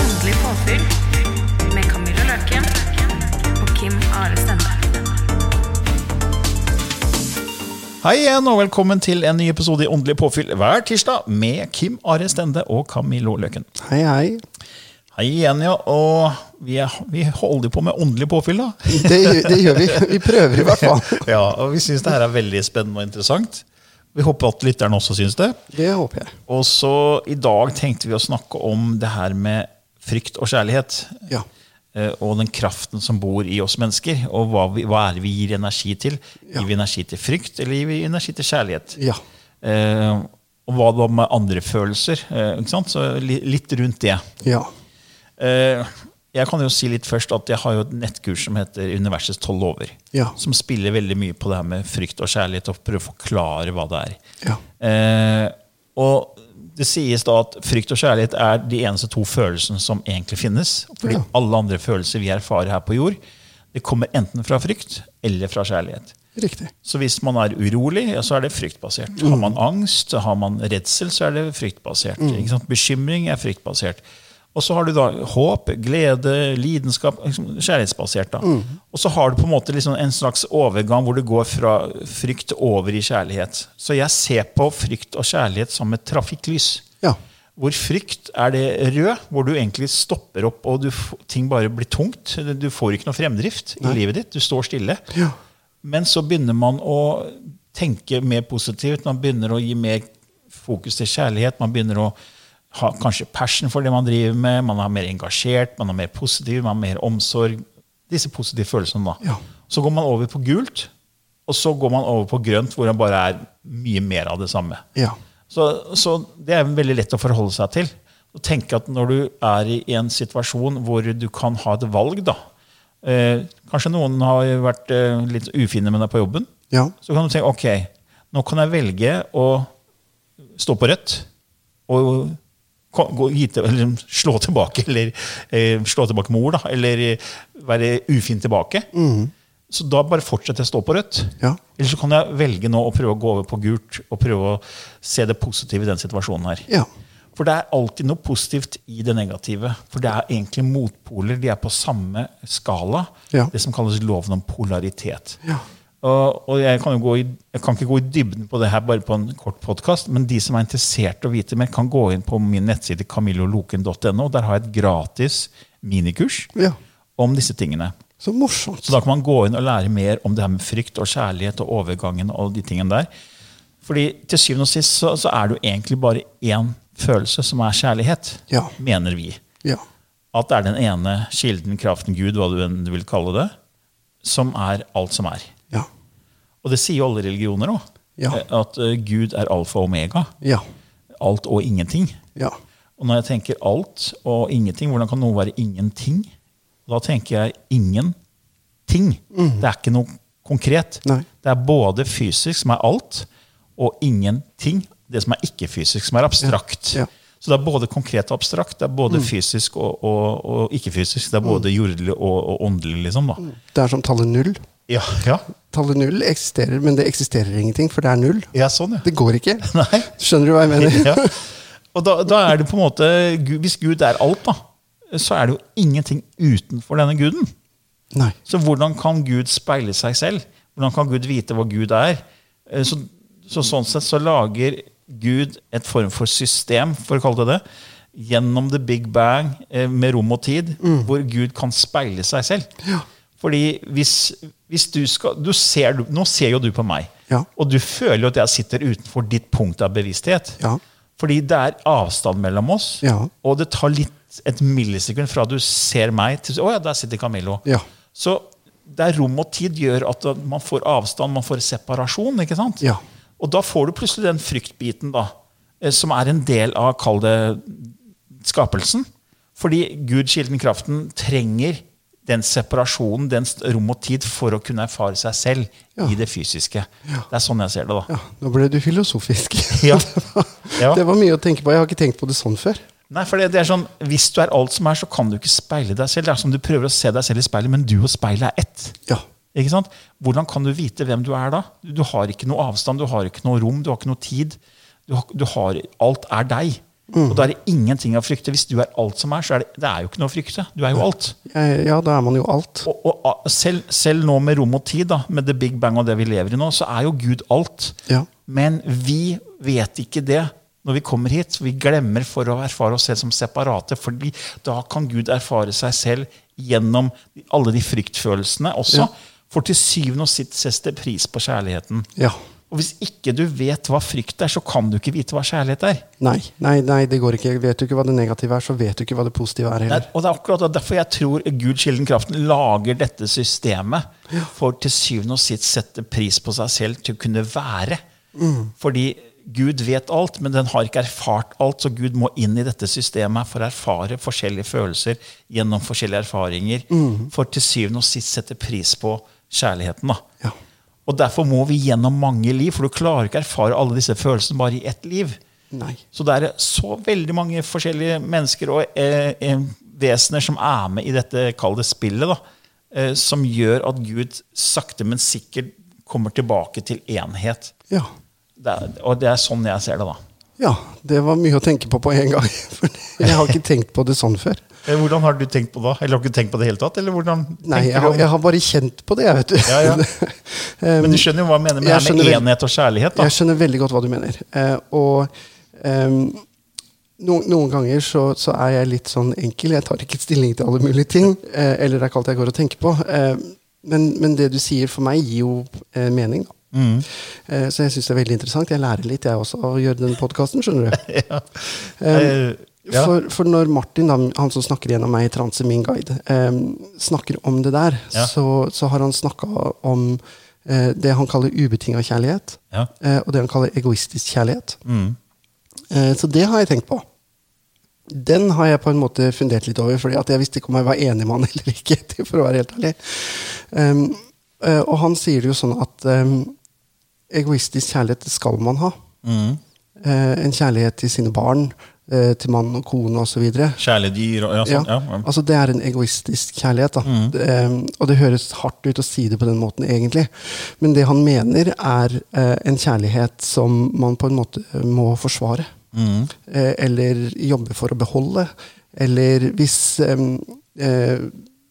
Åndelig påfyll med Camilla Løken og Kim Are Stende. Hei igjen, og velkommen til en ny episode i Åndelig påfyll hver tirsdag med Kim Are Stende og Camillo Løken. Hei, hei. Hei igjen, ja. Og vi, er, vi holder på med åndelig påfyll, da. Det, gjør- det gjør vi. Vi prøver i hvert fall. ja, og vi syns det her er veldig spennende og interessant. Vi håper at lytterne også syns det. Det håper jeg. Og så i dag tenkte vi å snakke om det her med frykt og kjærlighet. Ja. Eh, Og den kraften som bor i oss mennesker. Og hva, vi, hva er det vi gir energi til? Ja. Gir vi energi til frykt, eller gir vi energi til kjærlighet? Ja. Eh, og hva da med andre følelser? Eh, ikke sant? Så li, litt rundt det. Ja. Eh, jeg kan jo si litt først at jeg har jo et nettkurs som heter Universets tolv lover. Ja. Som spiller veldig mye på det her med frykt og kjærlighet, og prøver å forklare hva det er. Ja. Eh, og det sies da at frykt og kjærlighet er de eneste to følelsene som egentlig finnes. Fordi Ja. alle andre følelser vi erfarer her på jord, det kommer enten fra frykt eller fra kjærlighet. Riktig. Så hvis man er urolig, ja, så er det fryktbasert. Har man angst, har man redsel, så er det fryktbasert. Ikke sant? Bekymring er fryktbasert. Og så har du da håp, glede, lidenskap liksom Kjærlighetsbasert. da. Og så har du på en måte liksom en slags overgang hvor du går fra frykt over i kjærlighet. Så jeg ser på frykt og kjærlighet som et trafikklys. Ja. Hvor frykt er det rød, hvor du egentlig stopper opp og du, f- ting bare blir tungt. Du får ikke noe fremdrift i livet ditt. Du står stille. Ja. Men så begynner man å tenke mer positivt. Man begynner å gi mer fokus til kjærlighet. Man begynner å ha kanskje passion for det man driver med. Man er mer engasjert, man er mer positiv, man har mer omsorg. Disse positive følelsene. da. Ja. Så går man over på gult, og så går man over på grønt, hvor det bare er mye mer av det samme. Ja. Så, så det er veldig lett å forholde seg til. Og tenke at når du er i en situasjon hvor du kan ha et valg, da eh, Kanskje noen har vært eh, litt ufine med deg på jobben. Ja. Så kan du tenke ok, nå kan jeg velge å stå på rødt og ko- gå, gi til, eller slå tilbake, eller eh, slå tilbake mor, da, eller eh, være ufin tilbake. Så da bare fortsetter jeg å stå på rødt. Mm. Ja. Eller så kan jeg velge nå å prøve å gå over på gult og prøve å se det positive i den situasjonen her. Ja. For det er alltid noe positivt i det negative. For det er egentlig motpoler. De er på samme skala. Ja. Det som kalles loven om polaritet. Ja. Og, og jeg, kan jo gå i, jeg kan ikke gå i dybden på det her bare på en kort podkast, men de som er interessert i å vite mer, kan gå inn på min nettside camilloloken.no. Der har jeg et gratis minikurs Ja. om disse tingene. Så morsomt. Så da kan man gå inn og lære mer om det her med frykt og kjærlighet og overgangen. og de tingene der. Fordi til syvende og sist så, så er det jo egentlig bare én følelse, som er kjærlighet. Ja. Mener vi. Ja. At det er den ene kilden, kraften, Gud, hva du enn vil kalle det, som er alt som er. Ja. Og det sier jo alle religioner òg. Ja. At eh, Gud er alfa og omega. Ja. Alt og ingenting. Ja. Og når jeg tenker alt og ingenting, hvordan kan noe være ingenting? Da tenker jeg ingenting. Det er ikke noe konkret. Mm. Nei. Det er både fysisk, som er alt, og ingenting. Det som er ikke-fysisk, som er abstrakt. Ja. Mm. Så det er både konkret og abstrakt. Det er både fysisk og, og, og ikke-fysisk. Det er både jordelig og, og åndelig, liksom. da. Det er som tallet null. Ja, ja. Tallet null eksisterer, men det eksisterer ingenting, for det er null. ja, sånn, ja. Det går ikke. Nei. Skjønner du hva jeg mener? ja. Og da, da er det på en måte Gud- Hvis Gud er alt, da, så er det jo ingenting utenfor denne guden. Nei. Så hvordan kan Gud speile seg selv? Hvordan kan Gud vite hva Gud er? Eh, Så, så sånn sett så lager Gud et form for system, for å kalle det det, gjennom the big bang eh, med rom og tid, Mm. hvor Gud kan speile seg selv. Fordi hvis, hvis du skal du ser, du- Nå ser jo du på meg, Ja. og du føler jo at jeg sitter utenfor ditt punkt av bevissthet. Ja. Fordi det er avstand mellom oss, Ja. og det tar litt et millisekund fra du ser meg, til Å ja, der sitter Camillo. Ja. Så der rom og tid gjør at man får avstand, man får separasjon. ikke sant? Ja. Og da får du plutselig den fryktbiten da, eh, som er en del av, kall det, skapelsen. Fordi Gud, kilden, kraften, trenger den separasjonen, den st- rom og tid, for å kunne erfare seg selv Ja. i det fysiske. Det er sånn jeg ser det, da. Ja, nå ble du filosofisk. Ja. det, var, Ja. det var mye å tenke på. Jeg har ikke tenkt på det sånn før. Nei, for det, det er sånn, Hvis du er alt som er, så kan du ikke speile deg selv. Det er som du prøver å se deg selv i speilet, men du og speilet er ett. Ja. Ikke sant? Hvordan kan du vite hvem du er da? Du har ikke noe avstand, du har ikke noe rom, du har ikke noe tid. Du har, du har, alt er deg. Og da er det ingenting å frykte. Hvis du er alt som er, så er det, det er jo ikke noe å frykte. Du er jo alt. Jeg, ja, da er man jo alt. Og, og a- selv, selv nå med rom og tid, da, med the big bang og det vi lever i nå, så er jo Gud alt. Ja. Men vi vet ikke det når vi kommer hit. Vi glemmer for å erfare oss selv som separate, fordi da kan Gud erfare seg selv gjennom alle de fryktfølelsene også. For til syvende og sist ses det pris på kjærligheten. Ja. Og hvis ikke du vet hva frykt er, så kan du ikke vite hva kjærlighet er. Nei, nei, nei, det går ikke. Vet du ikke hva det negative er, så vet du ikke hva det positive er Nei, heller. og det er akkurat derfor jeg tror Gud, kilden, kraften lager dette systemet for til syvende og sist sette pris på seg selv til å kunne være. Fordi Gud vet alt, men den har ikke erfart alt, så Gud må inn i dette systemet for å erfare forskjellige følelser gjennom forskjellige erfaringer, for til syvende og sist sette pris på kjærligheten. da. Ja. Og derfor må vi gjennom mange liv, for du klarer ikke å erfare alle disse følelsene bare i ett liv. Nei. Så det er så veldig mange forskjellige mennesker og eh, eh, vesener som er med i dette, kall det spillet, da, eh, som gjør at Gud sakte, men sikkert kommer tilbake til enhet. Ja. Det er, og det er sånn jeg ser det, da. ja. Det var mye å tenke på på en gang. For jeg har ikke tenkt på det sånn før. Eh, Hvordan har du tenkt på det? Eller har du ikke tenkt på det i hele tatt? Eller hvordan Nei, tenker jeg du har, om- jeg har bare kjent på det, jeg, vet du. Ja, ja. Eh, Men du skjønner jo hva jeg mener med, Jeg det her med skjønner vel- enhet og kjærlighet, da. Jeg skjønner veldig godt hva du mener. Eh, og ehm, no, noen ganger så, så er jeg litt sånn enkel. Jeg tar ikke stilling til alle mulige ting. Eh, eller det er ikke alt jeg går og tenker på. Eh, men, men det du sier for meg, gir jo eh, mening. da. Mm. Eh, så jeg syns det er veldig interessant. Jeg lærer litt, jeg også, av å gjøre den podkasten, skjønner du. Eh, ja. For, for når Martin, da, han som snakker gjennom meg i Transe, min guide, em, snakker om det der, Ja. så, så har han snakka om eh, det han kaller ubetinga kjærlighet, Ja. mm, eh, og det han kaller egoistisk kjærlighet. Eh, så det har jeg tenkt på. Den har jeg på en måte fundert litt over, fordi at jeg visste ikke om jeg var enig med han eller ikke. til- for å være helt ærlig. Em, eh, og han sier det jo sånn at em, egoistisk kjærlighet skal man ha. mm. Eh, en kjærlighet til sine barn, eh, til mann og kone osv. Kjæledyr og ja, Ja, sånn. Ja. Mm. altså det er en egoistisk kjærlighet. Da. Det, em, og det høres hardt ut å si det på den måten, egentlig. Men det han mener, er eh, en kjærlighet som man på en måte må forsvare. Mm, Eh, eller jobbe for å beholde. Eller hvis em, eh,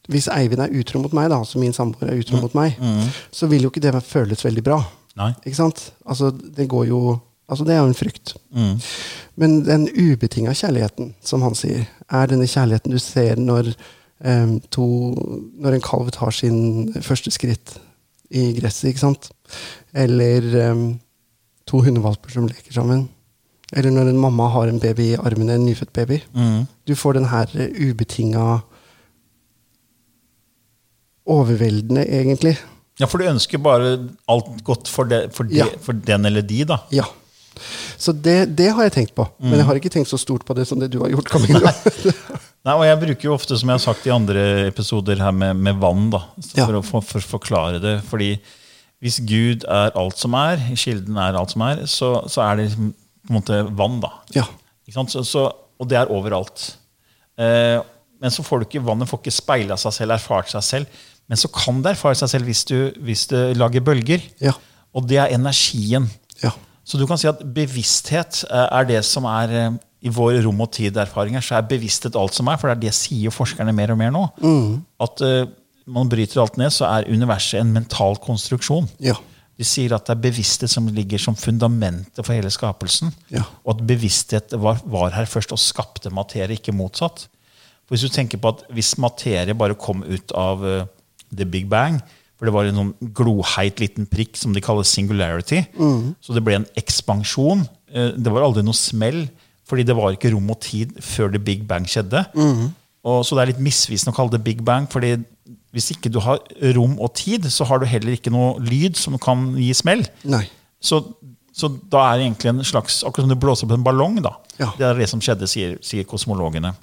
hvis Eivind er utro mot meg, da, altså min samboer er Mm. utro mot meg, så vil jo ikke det føles veldig bra. Nei. Ikke sant? Altså, det går jo Altså, det er jo en frykt. mm, Men den ubetinga kjærligheten, som han sier, er denne kjærligheten du ser når, em, to, når en kalv tar sin første skritt i gresset, ikke sant? Eller em, to hundevalper som leker sammen. Eller når en mamma har en baby i armene, en nyfødt baby. mm. Du får den her eh, ubetinga Overveldende, egentlig. ja, for du ønsker bare alt godt for, det, for, det, Ja. for den eller de, da. Ja. Så det, det har jeg tenkt på. Men jeg har ikke tenkt så stort på det som det du har gjort. Camilla. Nei, og Jeg bruker jo ofte, som jeg har sagt i andre episoder, her med, med vann. da, så Ja. for, å, for, for å forklare det. Fordi hvis Gud er alt som er, kilden er alt som er, så, så er det liksom, på en måte vann. da. ja. Ikke sant? Så, så, og det er overalt. Eh, men så får du ikke vannet får ikke speila seg selv, erfart seg selv. Men så kan det erfare seg selv hvis du, hvis du lager bølger. Ja. Og det er energien. Ja. Så du kan si at bevissthet eh, er det som er eh, I vår rom- og tid-erfaringer så er bevissthet alt som er, for det er det sier jo forskerne mer og mer nå. At eh, man bryter alt ned, så er universet en mental konstruksjon. Ja. Du sier at det er bevissthet som ligger som fundamentet for hele skapelsen. Ja. Og at bevissthet var, var her først og skapte materie, ikke motsatt. For Hvis du tenker på at hvis materie bare kom ut av eh, the big bang For det var en sånn gloheit liten prikk som de kaller singularity. Så det ble en ekspansjon. Eh, Det var aldri noe smell, fordi det var ikke rom og tid før the big bang skjedde. Og så det er litt misvisende å kalle det big bang, fordi hvis ikke du har rom og tid, så har du heller ikke noe lyd som kan gi smell. Nei. Så, så da er det egentlig en slags Akkurat som du blåser opp en ballong. da. Ja. Det er det som skjedde, sier, sier kosmologene.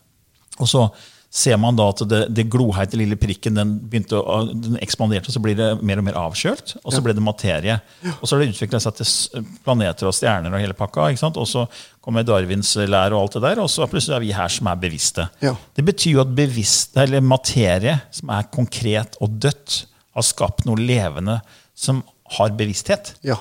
Og så ser man da at det, det gloheite lille prikken den begynte å, den ekspanderte, og så blir det mer og mer avkjølt. Og så ble det materie. Og så har det utvikla seg til s- planeter og stjerner og hele pakka. ikke sant? Og så kommer Darwins lære og alt det der, og så plutselig er vi her som er bevisste. Ja. Det betyr jo at bevisst, eller materie som er konkret og dødt, har skapt noe levende som har bevissthet. Ja.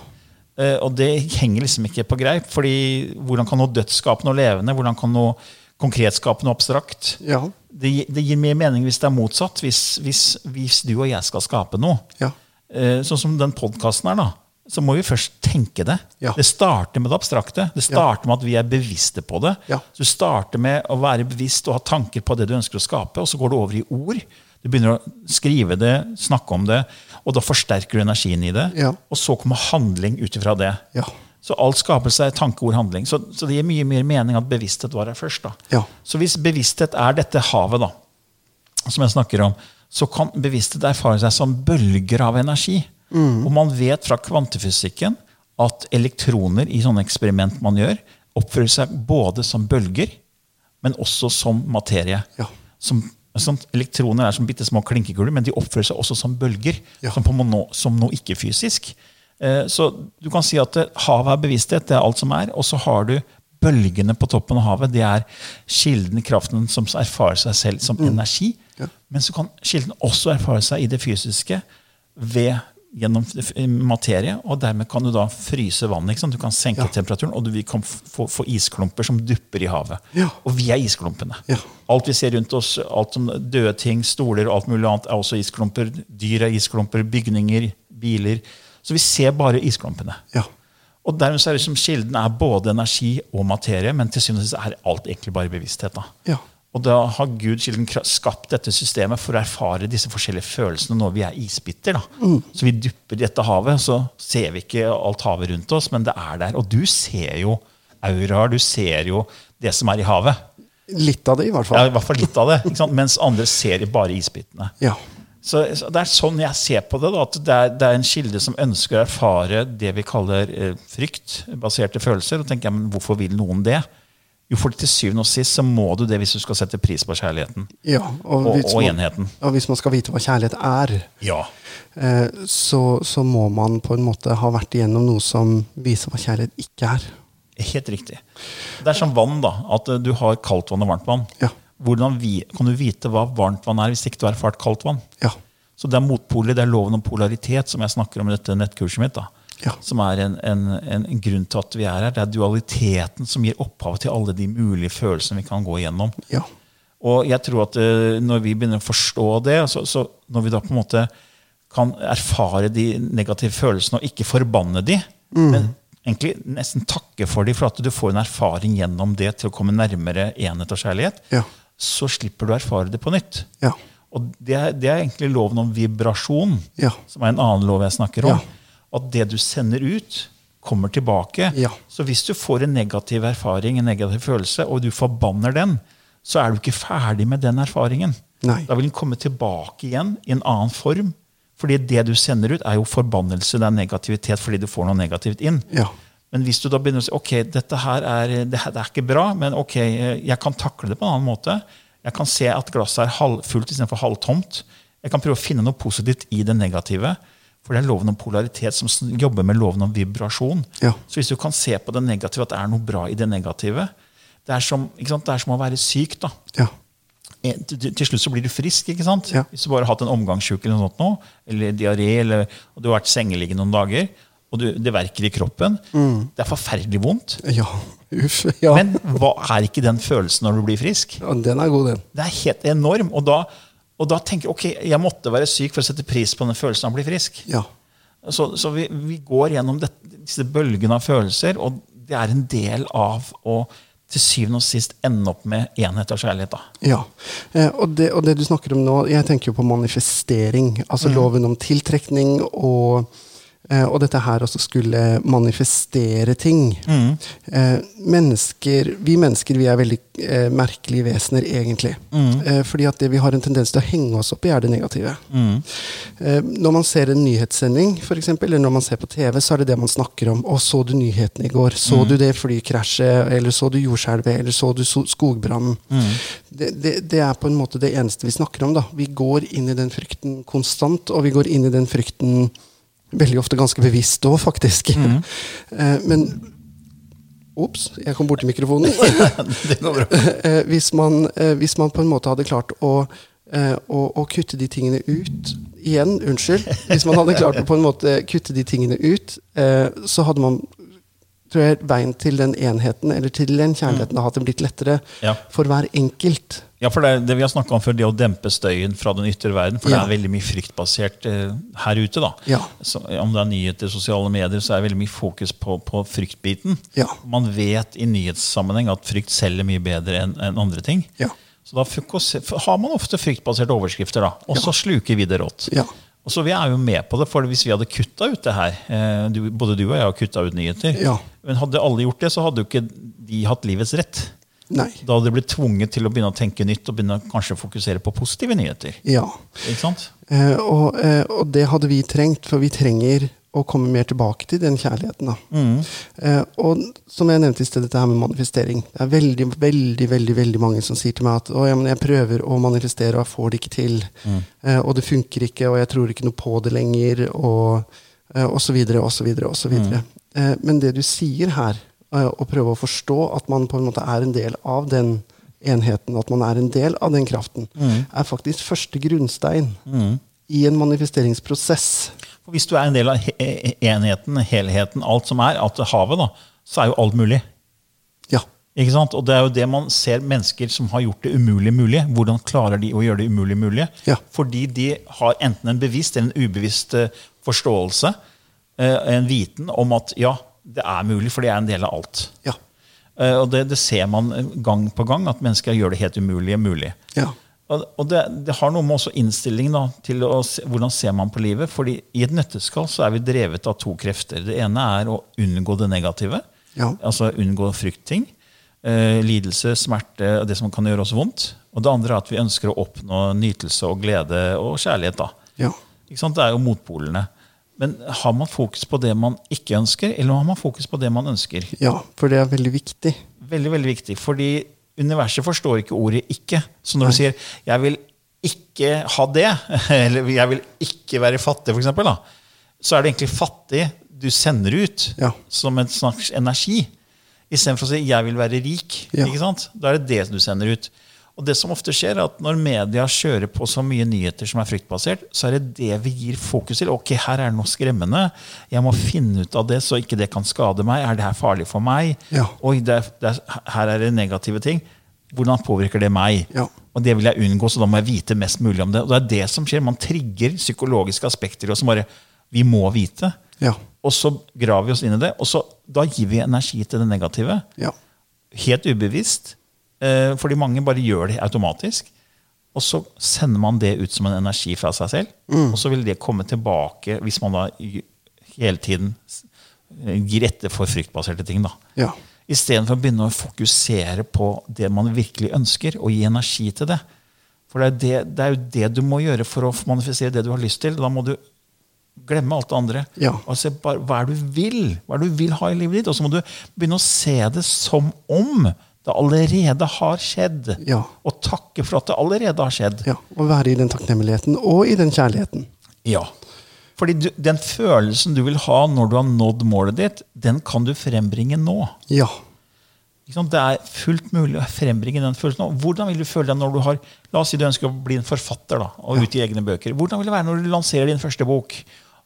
Eh, og det henger liksom ikke på greip. fordi hvordan kan noe dødt skape noe levende? Hvordan kan noe konkret skape noe abstrakt? Ja. Det, gi- det gir mer mening hvis det er motsatt. Hvis, hvis, hvis du og jeg skal skape noe. Ja. Eh, sånn som den podkasten her, da. Så må vi først tenke det. Ja. Det starter med det abstrakte. Det starter med at vi er bevisste på det. Ja. Så du starter med å være bevisst og ha tanker på det du ønsker å skape, og så går du over i ord. Du begynner å skrive det, snakke om det, og da forsterker du energien i det. Ja. Og så kommer handling ut ifra det. Ja. Så alt skapelse er tanke, ord, handling. Så, så det gir mye mer mening at bevissthet var her først. da. Ja. Så hvis bevissthet er dette havet, da, som jeg snakker om, så kan bevissthet erfare seg som bølger av energi. Mm. Og man vet fra kvantefysikken at elektroner i sånne eksperiment man gjør, oppfører seg både som bølger, men også som materie. Ja. Som, sånn, elektroner er som bitte små klinkekuler, men de oppfører seg også som bølger. Ja. Som, på mono, som noe ikke-fysisk. Eh, så du kan si at eh, havet er bevissthet, det er alt som er. Og så har du bølgene på toppen av havet. Det er kilden, kraften, som erfarer seg selv som energi. Mm. Ja. Men så kan kilden også erfare seg i det fysiske ved, gjennom f- materie. Og dermed kan du da fryse vannet. ikke sant? Du kan senke Ja. temperaturen, og du vi kan f- få, få isklumper som dupper i havet. Ja. Og vi er isklumpene. Ja. Alt vi ser rundt oss, alt som døde ting, stoler og alt mulig annet, er også isklumper. Dyr er isklumper, bygninger, biler. Så vi ser bare isklumpene. Ja. Og dermed så er det som kilden er både energi og materie, men til syvende og sist er alt egentlig bare bevissthet. da. Ja. Og da har Gud kilden kra- skapt dette systemet for å erfare disse forskjellige følelsene når vi er isbiter. da. Så vi dupper i dette havet, så ser vi ikke alt havet rundt oss, men det er der. Og du ser jo auraer, du ser jo det som er i havet. Litt av det, i hvert Ja, i fall. hvert fall litt av det. Ikke sant? Mens andre ser bare isbitene. Ja. Så, så Det er sånn jeg ser på det. da, at Det er, det er en kilde som ønsker å erfare det vi kaller eh, fryktbaserte følelser. Og tenker jeg, men hvorfor vil noen det? Jo, for til syvende og sist så må du det hvis du skal sette pris på kjærligheten. ja. Og- hvis og man- enheten. Og hvis man skal vite hva kjærlighet er, Ja. eh, så, så må man på en måte ha vært igjennom noe som viser hva kjærlighet ikke er. Helt riktig. Det er som vann, da. At eh, du har kaldt vann og varmt vann. Ja. Hvordan vi, kan du vite hva varmt vann er hvis ikke du har erfart kaldt vann? Ja. Så det er motpoler, det er loven om polaritet som jeg snakker om i dette nettkurset mitt. da. Ja. Som er en, en, en, en grunn til at vi er her. Det er dualiteten som gir opphavet til alle de mulige følelsene vi kan gå igjennom. Ja. Og jeg tror at eh, når vi begynner å forstå det, så, så når vi da på en måte kan erfare de negative følelsene og ikke forbanne de, Mm. men egentlig nesten takke for de, for at du får en erfaring gjennom det til å komme nærmere enhet og kjærlighet, Ja. så slipper du å erfare det på nytt. Ja. Og det er, det er egentlig loven om vibrasjon, Ja. som er en annen lov jeg snakker om. Ja. At det du sender ut, kommer tilbake. Ja. Så hvis du får en negativ erfaring, en negativ følelse, og du forbanner den, så er du ikke ferdig med den erfaringen. Nei. Da vil den komme tilbake igjen i en annen form. Fordi det du sender ut, er jo forbannelse, det er negativitet fordi du får noe negativt inn. Ja. Men hvis du da begynner å si ok, dette her er, det her det er ikke bra, men ok, eh, jeg kan takle det på en annen måte. Jeg kan se at glasset er halvfullt istedenfor halvtomt. Jeg kan prøve å finne noe positivt i det negative. For det er loven om polaritet som sn- jobber med loven om vibrasjon. Ja. Så hvis du kan se på det negative, at det er noe bra i det negative Det er som, ikke sant? Det er som å være syk. da. Ja. Eh, til- til til slutt så blir du frisk. ikke sant? Ja. Hvis du bare har hatt en omgangssjuk eller noe sånt nå, eller diaré, eller, og du har vært sengeliggende noen dager, og du, det verker i kroppen Det er forferdelig vondt. Ja. Uff. Ja. Men hva er ikke den følelsen når du blir frisk? ja. Den er god, den. Det er helt enorm. Og da, og da tenker jeg ok, jeg måtte være syk for å sette pris på den følelsen av å bli frisk. Ja. Så, så vi, vi går gjennom det, disse bølgene av følelser, og det er en del av å til syvende og sist ende opp med enhet og kjærlighet. Da. Ja. Eh, og, det, og det du snakker om nå, jeg tenker jo på manifestering. Altså loven om tiltrekning og, eh, og dette her også skulle manifestere ting. Eh, mennesker, vi mennesker vi er veldig eh, merkelige vesener, egentlig. Eh, fordi at det vi har en tendens til å henge oss opp i, er det negative. Eh, når man ser en nyhetssending, for eksempel, eller når man ser på TV, så er det det man snakker om. Å, så du nyhetene i går? Så du det flykrasjet? Eller så du jordskjelvet? Eller så du so skogbrannen? Det, det, det er på en måte det eneste vi snakker om. da. Vi går inn i den frykten konstant, og vi går inn i den frykten veldig ofte ganske bevisst òg, faktisk. Eh, men Ops, jeg kom borti mikrofonen. Det går bra. Eh, hvis, man, eh, hvis man på en måte hadde klart å, eh, å, å kutte de tingene ut Igjen, unnskyld. Hvis man hadde klart å på en måte kutte de tingene ut, eh, så hadde man tror jeg, veien til den enheten eller til den kjærligheten hadde blitt lettere Ja. for hver enkelt. Ja, for det, er det vi har snakka om før, det å dempe støyen fra den ytre verden. For det Ja. er veldig mye fryktbasert eh, her ute. da. Ja. Så, eh, om det er nyheter, sosiale medier, så er det veldig mye fokus på, på fryktbiten. Ja. Man vet i nyhetssammenheng at frykt selger mye bedre enn enn andre ting. Ja. Så da fokus- har man ofte fryktbaserte overskrifter, da. Og så sluker vi det rått. Ja. Og så Vi er jo med på det, for hvis vi hadde kutta ut det her eh, du, Både du og jeg har kutta ut nyheter. Ja. Men hadde alle gjort det, så hadde jo ikke de hatt livets rett. Nei. Da hadde de blitt tvunget til å begynne å tenke nytt og begynne å kanskje fokusere på positive nyheter. Ja. Ikke sant? Eh, og, eh, og det hadde vi trengt, for vi trenger å komme mer tilbake til den kjærligheten. Da. Eh, og som jeg nevnte i sted, dette her med manifestering. Det er veldig, veldig veldig, veldig mange som sier til meg at å, ja, men jeg prøver å manifestere, og jeg får det ikke til. Eh, og det funker ikke, og jeg tror ikke noe på det lenger, og, eh, og så videre, og så videre, og så videre. Eh, men det du sier her, eh, å prøve å forstå at man på en måte er en del av den enheten, at man er en del av den kraften, er faktisk første grunnstein i en manifesteringsprosess. For Hvis du er en del av he he- enheten, helheten, alt som er, alt det havet, da, så er jo alt mulig. Ja. Ikke sant? Og det er jo det man ser mennesker som har gjort det umulig mulig. Hvordan klarer de å gjøre det umulig mulig? Ja. Fordi de har enten en bevisst eller en ubevisst eh, forståelse, eh, en viten om at ja, det er mulig, for det er en del av alt. Ja. Eh, Og det, det ser man eh, gang på gang, at mennesker gjør det helt umulige mulig. Ja. Og og det, det har noe med også innstillingen da, til å se, hvordan ser man på livet. fordi i et nøtteskall så er vi drevet av to krefter. Det ene er å unngå det negative. Ja. Altså unngå fryktting. Eh, lidelse, smerte, det som kan gjøre oss vondt. Og det andre er at vi ønsker å oppnå nytelse og glede og kjærlighet. da. Ja. Ikke sant? Det er jo motpolene. Men har man fokus på det man ikke ønsker, eller har man fokus på det man ønsker? ja. For det er veldig viktig. Veldig, veldig viktig. Fordi universet forstår ikke ordet 'ikke'. Så når du sier 'jeg vil ikke ha det', eller 'jeg vil ikke være fattig', for eksempel, da, så er det egentlig fattig du sender ut Ja. som en slags energi. Istedenfor å si 'jeg vil være rik'. Ja. ikke sant? Da er det det du sender ut. Og det som ofte skjer er at Når media kjører på så mye nyheter som er fryktbasert, så er det det vi gir fokus til. Ok, her er det noe skremmende. Jeg må finne ut av det, så ikke det kan skade meg. Er det her farlig for meg? Ja. Oi, det er, det er, her er det negative ting. Hvordan påvirker det meg? Ja. Og det vil jeg unngå, så da må jeg vite mest mulig om det. Og det er det som skjer. Man trigger psykologiske aspekter i oss som bare Vi må vite. Ja. Og så graver vi oss inn i det, og så, da gir vi energi til det negative. Ja. Helt ubevisst. eh, Fordi mange bare gjør det automatisk. Og så sender man det ut som en energi fra seg selv. Mm. Og så vil det komme tilbake hvis man da i- hele tiden s- gir etter for fryktbaserte ting. da. Ja. Istedenfor å begynne å fokusere på det man virkelig ønsker, og gi energi til det. For det er, det, det er jo det du må gjøre for å manifestere det du har lyst til. Da må du glemme alt det andre. Ja. Og se bare, hva er det du vil? Hva er det du vil ha i livet ditt? Og så må du begynne å se det som om det allerede har skjedd. Ja. Og takke for at det allerede har skjedd. ja. Å være i den takknemligheten og i den kjærligheten. Ja. Fordi du, den følelsen du vil ha når du har nådd målet ditt, den kan du frembringe nå. Ja. Ikke sant? Det er fullt mulig å frembringe den følelsen. Og hvordan vil du føle deg når du har La oss si du ønsker å bli en forfatter da, og utgi egne bøker. Hvordan vil det være når du lanserer din første bok,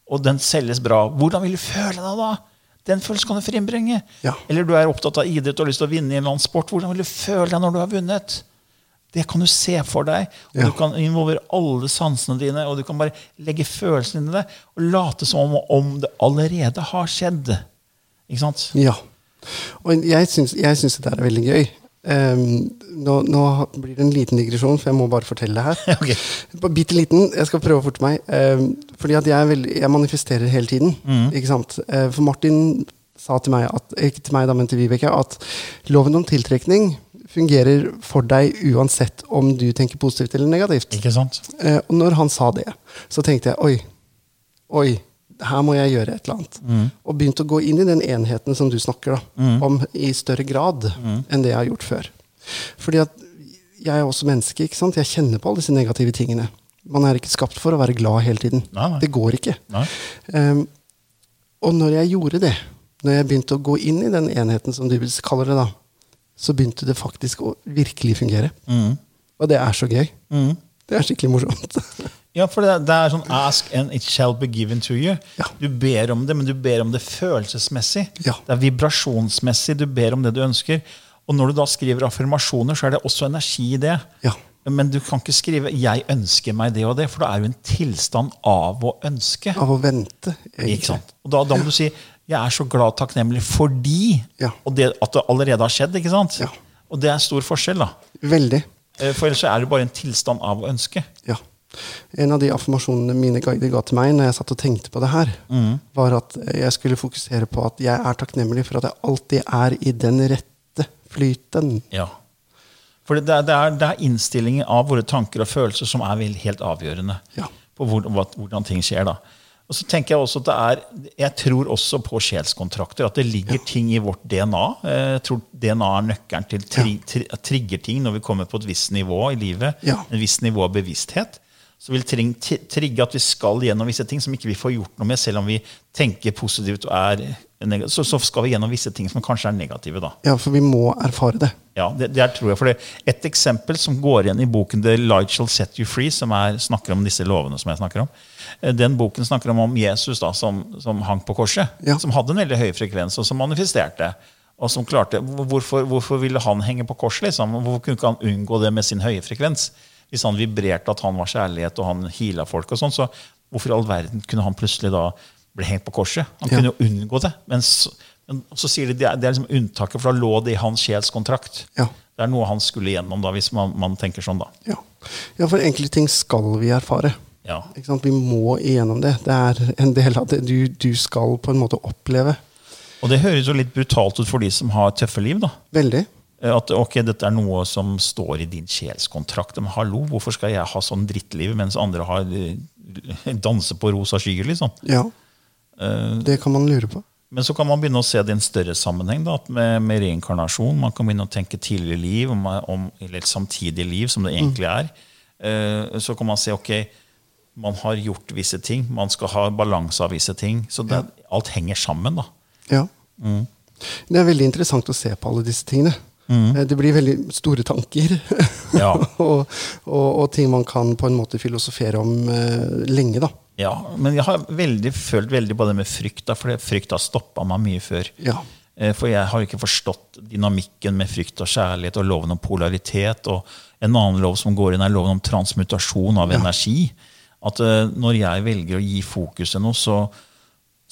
og den selges bra? Hvordan vil du føle deg da? Den følelsen kan du frembringe. Ja. Eller du er opptatt av idrett og har lyst til å vinne i en eller annen sport. Hvordan vil du føle deg når du har vunnet? Det kan du se for deg. Og Ja. Du kan involvere alle sansene dine, og du kan bare legge følelsen inn i det og late som om, om det allerede har skjedd. Ikke sant? Ja. Og jeg syns, jeg syns det der er veldig gøy. Ehm, nå, nå blir det en liten digresjon, for jeg må bare fortelle det her. Ok. Bare Bitte liten. Jeg skal prøve å forte meg. Ehm, fordi at jeg, er veldig, jeg manifesterer hele tiden. Ikke sant? Eh, for Martin sa til meg, at, ikke til meg da, men til Vibeke, at loven om tiltrekning fungerer for deg uansett om du tenker positivt eller negativt. Ikke sant? Eh, og når han sa det, så tenkte jeg oi, oi, her må jeg gjøre et eller annet. Mm. Og begynte å gå inn i den enheten som du snakker da, om i større grad Mm. enn det jeg har gjort før. Fordi at jeg er også menneske, ikke sant? Jeg kjenner på alle disse negative tingene. Man er ikke skapt for å være glad hele tiden. Nei, nei. Det går ikke. Nei. Ehm, og når jeg gjorde det, når jeg begynte å gå inn i den enheten som du kaller det da, så begynte det faktisk å virkelig fungere. Mm. Og det er så gøy. Det er skikkelig morsomt. Ja, for det, det er sånn ask and it shall be given to you. Ja. Du ber om det, men du ber om det følelsesmessig. Ja. Det er vibrasjonsmessig. Du ber om det du ønsker. Og når du da skriver affirmasjoner, så er det også energi i det. Ja. Men du kan ikke skrive 'jeg ønsker meg det og det', for da er du i en tilstand av å ønske. Av å vente. egentlig. Ikke sant? Og da, da må du si 'jeg er så glad og takknemlig fordi' Ja. og det, at det allerede har skjedd. ikke sant? Ja. Og det er stor forskjell, da. Veldig. Eh, For ellers så er det bare en tilstand av å ønske. Ja. En av de affirmasjonene mine guider ga til meg når jeg satt og tenkte på det her, Mm. var at jeg skulle fokusere på at jeg er takknemlig for at jeg alltid er i den rette flyten. Ja. For det, er- det, er, det er innstillingen av våre tanker og følelser som er vel helt avgjørende Ja. på hvor, hva, hvordan ting skjer. da. Og så tenker Jeg også at det er, jeg tror også på sjelskontrakter. At det ligger ting i vårt DNA. Eh, Jeg tror DNA er nøkkelen til tri, tri, trigger ting når vi kommer på et visst nivå i livet. Ja. En viss nivå av bevissthet. Så vil tring, ti- trigge at vi skal gjennom visse ting som ikke vi får gjort noe med, selv om vi tenker positivt og er neg- så, så skal vi gjennom visse ting som kanskje er negative. da. Ja, for vi må erfare det. Ja, det, det er, tror jeg. For det, et eksempel som går igjen i boken The Light Shall Set You Free, som er, snakker om disse lovene som jeg snakker om, eh, den boken snakker om, om Jesus da, som, som hang på korset. Ja. Som hadde en veldig høy frekvens, og som manifesterte. Og som klarte, hvorfor, hvorfor ville han henge på korset? Liksom? Hvorfor kunne ikke han unngå det med sin høye frekvens? Hvis han vibrerte at han var kjærlighet og han heala folk, og sånn, så hvorfor i all verden kunne han plutselig da bli hengt på korset? Han Ja. kunne jo unngå det. Men så, men så sier de det er, det er liksom unntaket, for da lå det i hans sjelskontrakt. Ja. Det er noe han skulle igjennom, da, hvis man, man tenker sånn. da. Ja. ja, for enkelte ting skal vi erfare. Ja. Ikke sant? Vi må igjennom det. Det er en del av det du, du skal på en måte oppleve. Og det høres jo litt brutalt ut for de som har tøffe liv. da. Veldig. Eh, At ok, dette er noe som står i din sjelskontrakt. Men hallo, hvorfor skal jeg ha sånn drittliv mens andre har eh, danser på rosa skyer? liksom? Ja. Eh, Det kan man lure på. Men så kan man begynne å se det i en større sammenheng da, at med, med reinkarnasjon. Man kan begynne å tenke tidligere liv, om, om, eller samtidig liv, som det egentlig er. Eh, så kan man se ok, man har gjort visse ting. Man skal ha balanse av visse ting. Så det, alt henger sammen. da. Ja. Det er veldig interessant å se på alle disse tingene. Eh, Det blir veldig store tanker. Ja. og, og, og ting man kan på en måte filosofere om eh, lenge, da. Ja, Men jeg har veldig, følt veldig på det med frykt, da, for det- frykt har stoppa meg mye før. Ja. Eh, For jeg har jo ikke forstått dynamikken med frykt og kjærlighet og loven om polaritet. Og en annen lov som går inn, er loven om transmutasjon av energi. At eh, når jeg velger å gi fokuset noe, så,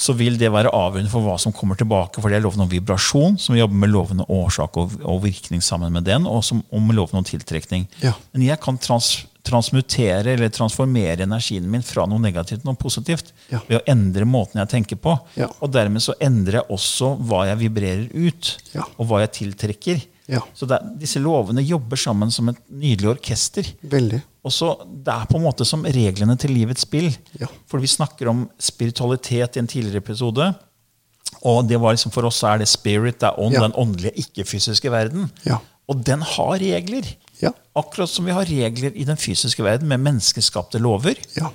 så vil det være avgjørende for hva som kommer tilbake. For det er loven om vibrasjon, som jobber med loven om årsak og, og virkning sammen med den, og som, om loven om tiltrekning. Ja. Men jeg kan trans, transmutere eller transformere energien min fra noe negativt til noe positivt Ja. ved å endre måten jeg tenker på. Ja. Og dermed så endrer jeg også hva jeg vibrerer ut, Ja. og hva jeg tiltrekker. Ja. Så det, er- disse lovene jobber sammen som et nydelig orkester. Veldig. Og så Det er på en måte som reglene til livets spill. Ja. For vi snakker om spiritualitet i en tidligere episode. Og det var liksom for oss så er det spirit, det er ånd, Ja. den åndelige, ikke-fysiske verden. Ja. Og den har regler. Ja. Akkurat som vi har regler i den fysiske verden med menneskeskapte lover. Ja.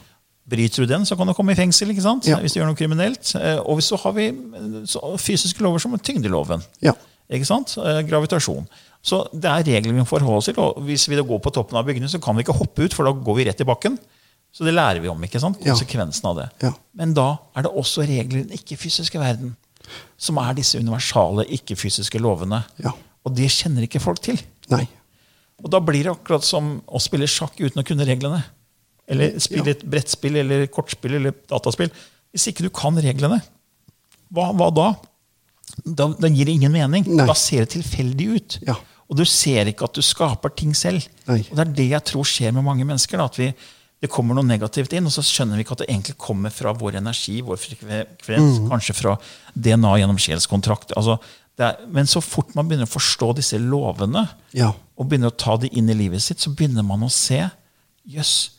Bryter du den, så kan du komme i fengsel ikke sant? Ja. hvis du gjør noe kriminelt. Eh, Og så har vi eh, så fysiske lover som tyngdeloven. Ja. Ikke sant? Eh, Gravitasjon. Så det er regler vi må forholde oss til. Og hvis vi da går på toppen av byggene, så kan vi ikke hoppe ut, for da går vi rett i bakken. Så det lærer vi om. ikke sant? Ja. Konsekvensen av det. Ja. Men da er det også regler i den ikke-fysiske verden. Som er disse universale ikke-fysiske lovene. Ja. Og det kjenner ikke folk til. Nei. Og da blir det akkurat som å spille sjakk uten å kunne reglene. Eller spille et brettspill eller kortspill eller dataspill. Hvis ikke du kan reglene, hva, hva da? da? Da gir det ingen mening. Nei. Da ser det tilfeldig ut. Ja. Og du ser ikke at du skaper ting selv. Nei. Og det er det jeg tror skjer med mange mennesker. Da, at vi, det kommer noe negativt inn, og så skjønner vi ikke at det egentlig kommer fra vår energi, vår frekvens, Mm. kanskje fra DNA gjennom sjelskontrakt. Altså, det er, men så fort man begynner å forstå disse lovene, Ja. og begynner å ta de inn i livet sitt, så begynner man å se jøss,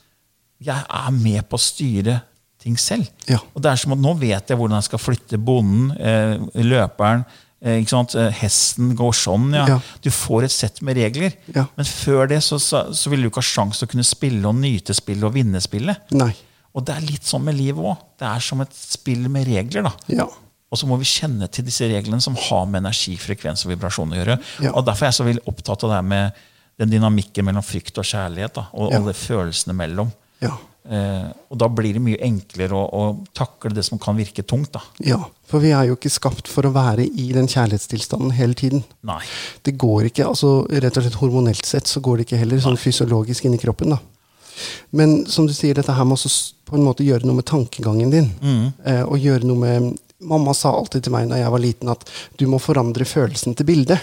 jeg er med på å styre ting selv. Ja. Og det er som at nå vet jeg hvordan jeg skal flytte bonden, eh, løperen, eh, ikke sant? eh, hesten går sånn. Ja. Ja. Du får et sett med regler. Ja. Men før det så, så, så ville du ikke ha sjanse til å kunne spille og nyte spillet og vinne spillet. Nei. Og det er litt sånn med livet òg. Det er som et spill med regler. da. Ja. Og så må vi kjenne til disse reglene som har med energi, frekvens og vibrasjon å gjøre. Ja. Og Derfor er jeg så veldig opptatt av det her med den dynamikken mellom frykt og kjærlighet. Da, og Ja. alle følelsene mellom. Ja. Eh, og da blir det mye enklere å, å takle det som kan virke tungt. da. ja. For vi er jo ikke skapt for å være i den kjærlighetstilstanden hele tiden. Nei. Det går ikke, altså rett og slett hormonelt sett så går det ikke heller, sånn fysiologisk inni kroppen. da. Men som du sier, dette her med å s- på en måte gjøre noe med tankegangen din. Eh, og gjøre noe med Mamma sa alltid til meg da jeg var liten, at du må forandre følelsen til bildet.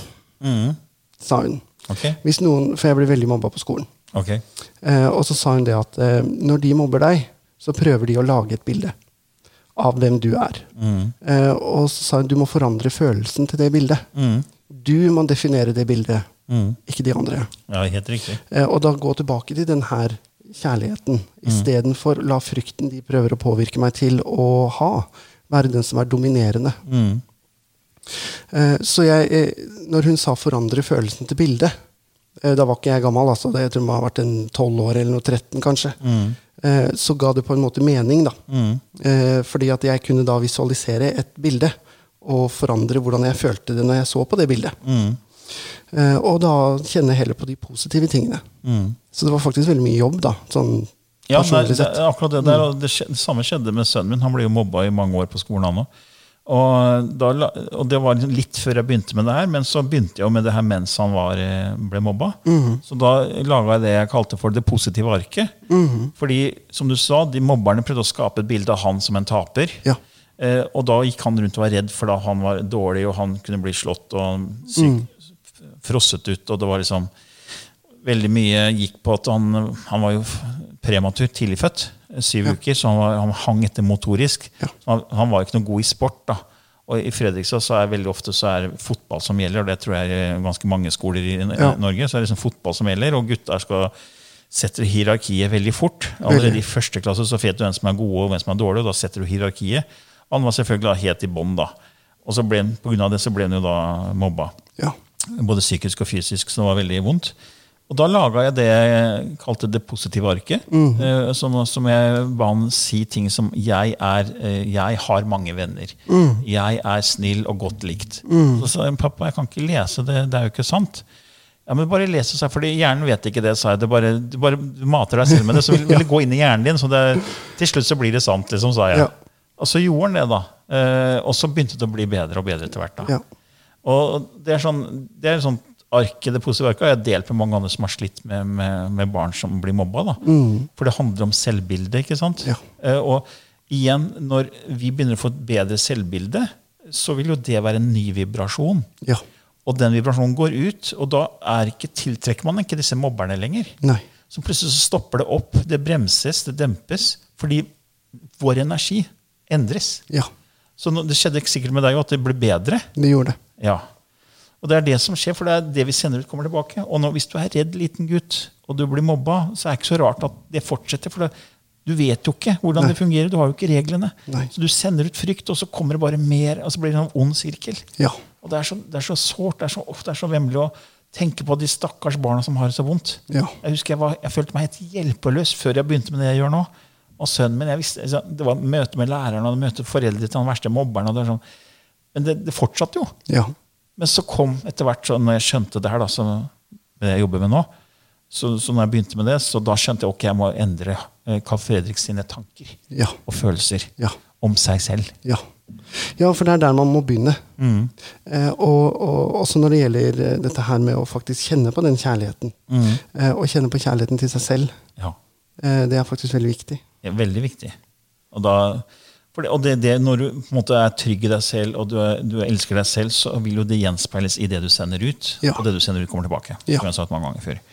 Sa hun. Ok. Hvis noen, For jeg ble veldig mobba på skolen. Ok. Eh, og så sa hun det at eh, når de mobber deg, så prøver de å lage et bilde av hvem du er. Mm. Eh, og så sa hun du må forandre følelsen til det bildet. Mm. Du må definere det bildet, ikke de andre. Ja, helt riktig. Eh, og da gå tilbake til den her kjærligheten. Istedenfor la frykten de prøver å påvirke meg til å ha, være den som er dominerende. Mm. Eh, så jeg, eh, når hun sa 'forandre følelsen til bildet' eh, Da var ikke jeg gammel, altså. Det- Jeg tror man har vært en 12 år eller noe 13, kanskje. Mm. Eh, så ga det på en måte mening, da. Eh, fordi at jeg kunne da visualisere et bilde og forandre hvordan jeg følte det når jeg så på det bildet. Mm. Eh, og da kjenne heller på de positive tingene. Mm. Så det var faktisk veldig mye jobb, da. Sånn Ja, det, personlig er- det, sett. Mm. er akkurat det der. Og det, skje- det samme skjedde med sønnen min. Han ble jo mobba i mange år på skolen. han også. Og, da, la- og det var litt før jeg begynte med det her, men så begynte jeg jo med det her mens han var, eh, ble mobba. Mm. Så da laga jeg det jeg kalte for det positive arket. Mm. Fordi, som du sa, de mobberne prøvde å skape et bilde av han som en taper. Ja. Eh, og da gikk han rundt og var redd, for da han var dårlig, og han kunne bli slått og syk, Mm. frosset ut. og det var liksom veldig mye gikk på at han, han var jo f- prematur, tidlig født, eh, syv uker, så han, var, han hang etter motorisk. Ja. Så Han, han var ikke noe god i sport. da. Og I Fredrikstad så er veldig ofte så er det fotball som gjelder, og det tror jeg er ganske mange skoler i N- Ja. Norge. så er det liksom fotball som gjelder, og gutta skal setter hierarkiet veldig fort. Allerede i første klasse så vet du hvem som er gode og hvem som er dårlige, og da setter du hierarkiet. Han var selvfølgelig da helt i bånn, da. Og så ble, han- på grunn av det så ble han jo da mobba Ja. både psykisk og fysisk, så det var veldig vondt. Og da laga jeg det jeg kalte det positive arket. Mhm. eh, Som, som jeg ba han si ting som Jeg, er, eh, jeg har mange venner. Mhm. Jeg er snill og godt likt. Så sa jeg, pappa, jeg kan ikke lese det. Det er jo ikke sant. Ja, men bare lese seg, fordi Hjernen vet ikke det, sa jeg. Det bare, du bare du mater deg selv med det. Så vil, vil det gå inn i hjernen din. Så det, til slutt så blir det sant, liksom, sa jeg. Ja. Og så gjorde han det, da. Eh, og så begynte det å bli bedre og bedre etter hvert. da. Ja. Og det er sånn, det er sånn arke, det positive arket har jeg delt med mange andre som har slitt med, med, med barn som blir mobba. Da. For det handler om selvbildet. ikke sant? Ja. Eh, og igjen, når vi begynner å få et bedre selvbilde, så vil jo det være en ny vibrasjon. Ja. Og den vibrasjonen går ut, og da er ikke, tiltrekker man ikke disse mobberne lenger. Nei. Så plutselig så stopper det opp, det bremses, det dempes, fordi vår energi endres. Ja. Så nå- det skjedde sikkert med deg òg, at det ble bedre. Det gjorde det. Ja. Og det er det som skjer, for det er det vi sender ut, kommer tilbake. Og nå, hvis du er redd liten gutt, og du blir mobba, så er det ikke så rart at det fortsetter. for det, du vet jo ikke hvordan det fungerer. Du har jo ikke reglene. Nei. Så du sender ut frykt, og så kommer det bare mer. og så blir det en ond sirkel. Ja. Og det er så, det er så sårt, det er så, ofte er så vemmelig å tenke på de stakkars barna som har det så vondt. Ja. Jeg husker jeg, var, jeg følte meg helt hjelpeløs før jeg begynte med det jeg gjør nå. Og sønnen min, jeg visste, altså, Det var møte med læreren og møte foreldre til den verste mobberen. og det er sånn. Men det, det fortsatte jo. Ja. Men så kom etter hvert, så når jeg skjønte det her, da, så, det jeg jobber med nå, så, så når jeg begynte med det, så da skjønte jeg ok, jeg må endre eh, Carl Fredrik sine tanker Ja. og følelser Ja. om seg selv. Ja. Ja, for det er der man må begynne. Eh, og, og også når det gjelder eh, dette her med å faktisk kjenne på den kjærligheten. Eh, og kjenne på kjærligheten til seg selv. Ja. Eh, det er faktisk veldig viktig. Det er veldig viktig. Og, da, for det, og det, det, når du på en måte er trygg i deg selv og du, er- du elsker deg selv, så vil jo det gjenspeiles i det du sender ut. Ja. Og det du sender ut, kommer tilbake. Ja. Som jeg har sagt mange ganger før.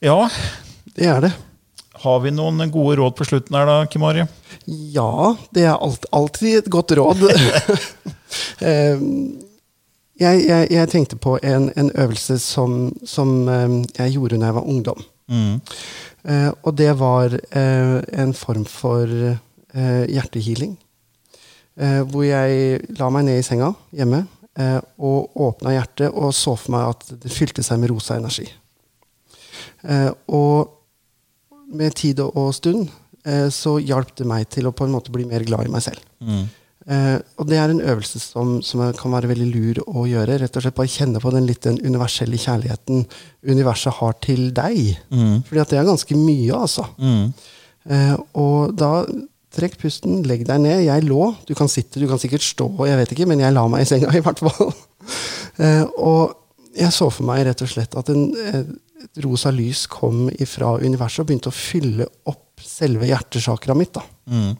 Ja, Det er det. har vi noen gode råd på slutten her da, Kim Ari? Ja, det er alt, alltid et godt råd. Eh, jeg, jeg, jeg tenkte på en, en øvelse som, som eh, jeg gjorde når jeg var ungdom. Mm, Eh, og det var eh, en form for eh, hjertehealing. Eh, hvor jeg la meg ned i senga hjemme eh, og åpna hjertet og så for meg at det fylte seg med rosa energi. Eh, og med tid og, og stund eh, så hjalp det meg til å på en måte bli mer glad i meg selv. mm, Eh, og det er en øvelse som, som er- kan være veldig lur å gjøre. Rett og slett Bare kjenne på den litt den universelle kjærligheten universet har til deg. Mm. Fordi at det er ganske mye, altså. Eh, og da trekk pusten, legg deg ned. Jeg lå. Du kan sitte, du kan sikkert stå, jeg vet ikke, men jeg la meg i senga i hvert fall. Eh, og jeg så for meg rett og slett at en, eh, et rosa lys kom ifra universet og begynte å fylle opp selve hjertesakra mitt. da.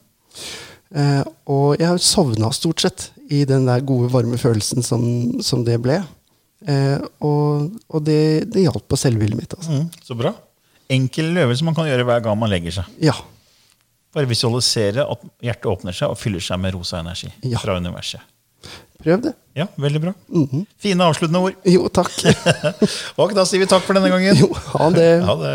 Eh, og jeg sovna stort sett i den der gode, varme følelsen som, som det ble. Eh, og og det, det hjalp på selvbildet mitt. altså. Så bra. Enkel øvelse man kan gjøre hver gang man legger seg. Ja. Bare visualisere at hjertet åpner seg og fyller seg med rosa energi Ja. fra universet. Prøv det. Ja, veldig bra. Mhm. Fine avsluttende ord. Jo, takk. Og da sier vi takk for denne gangen. Jo, ha det. Ha det.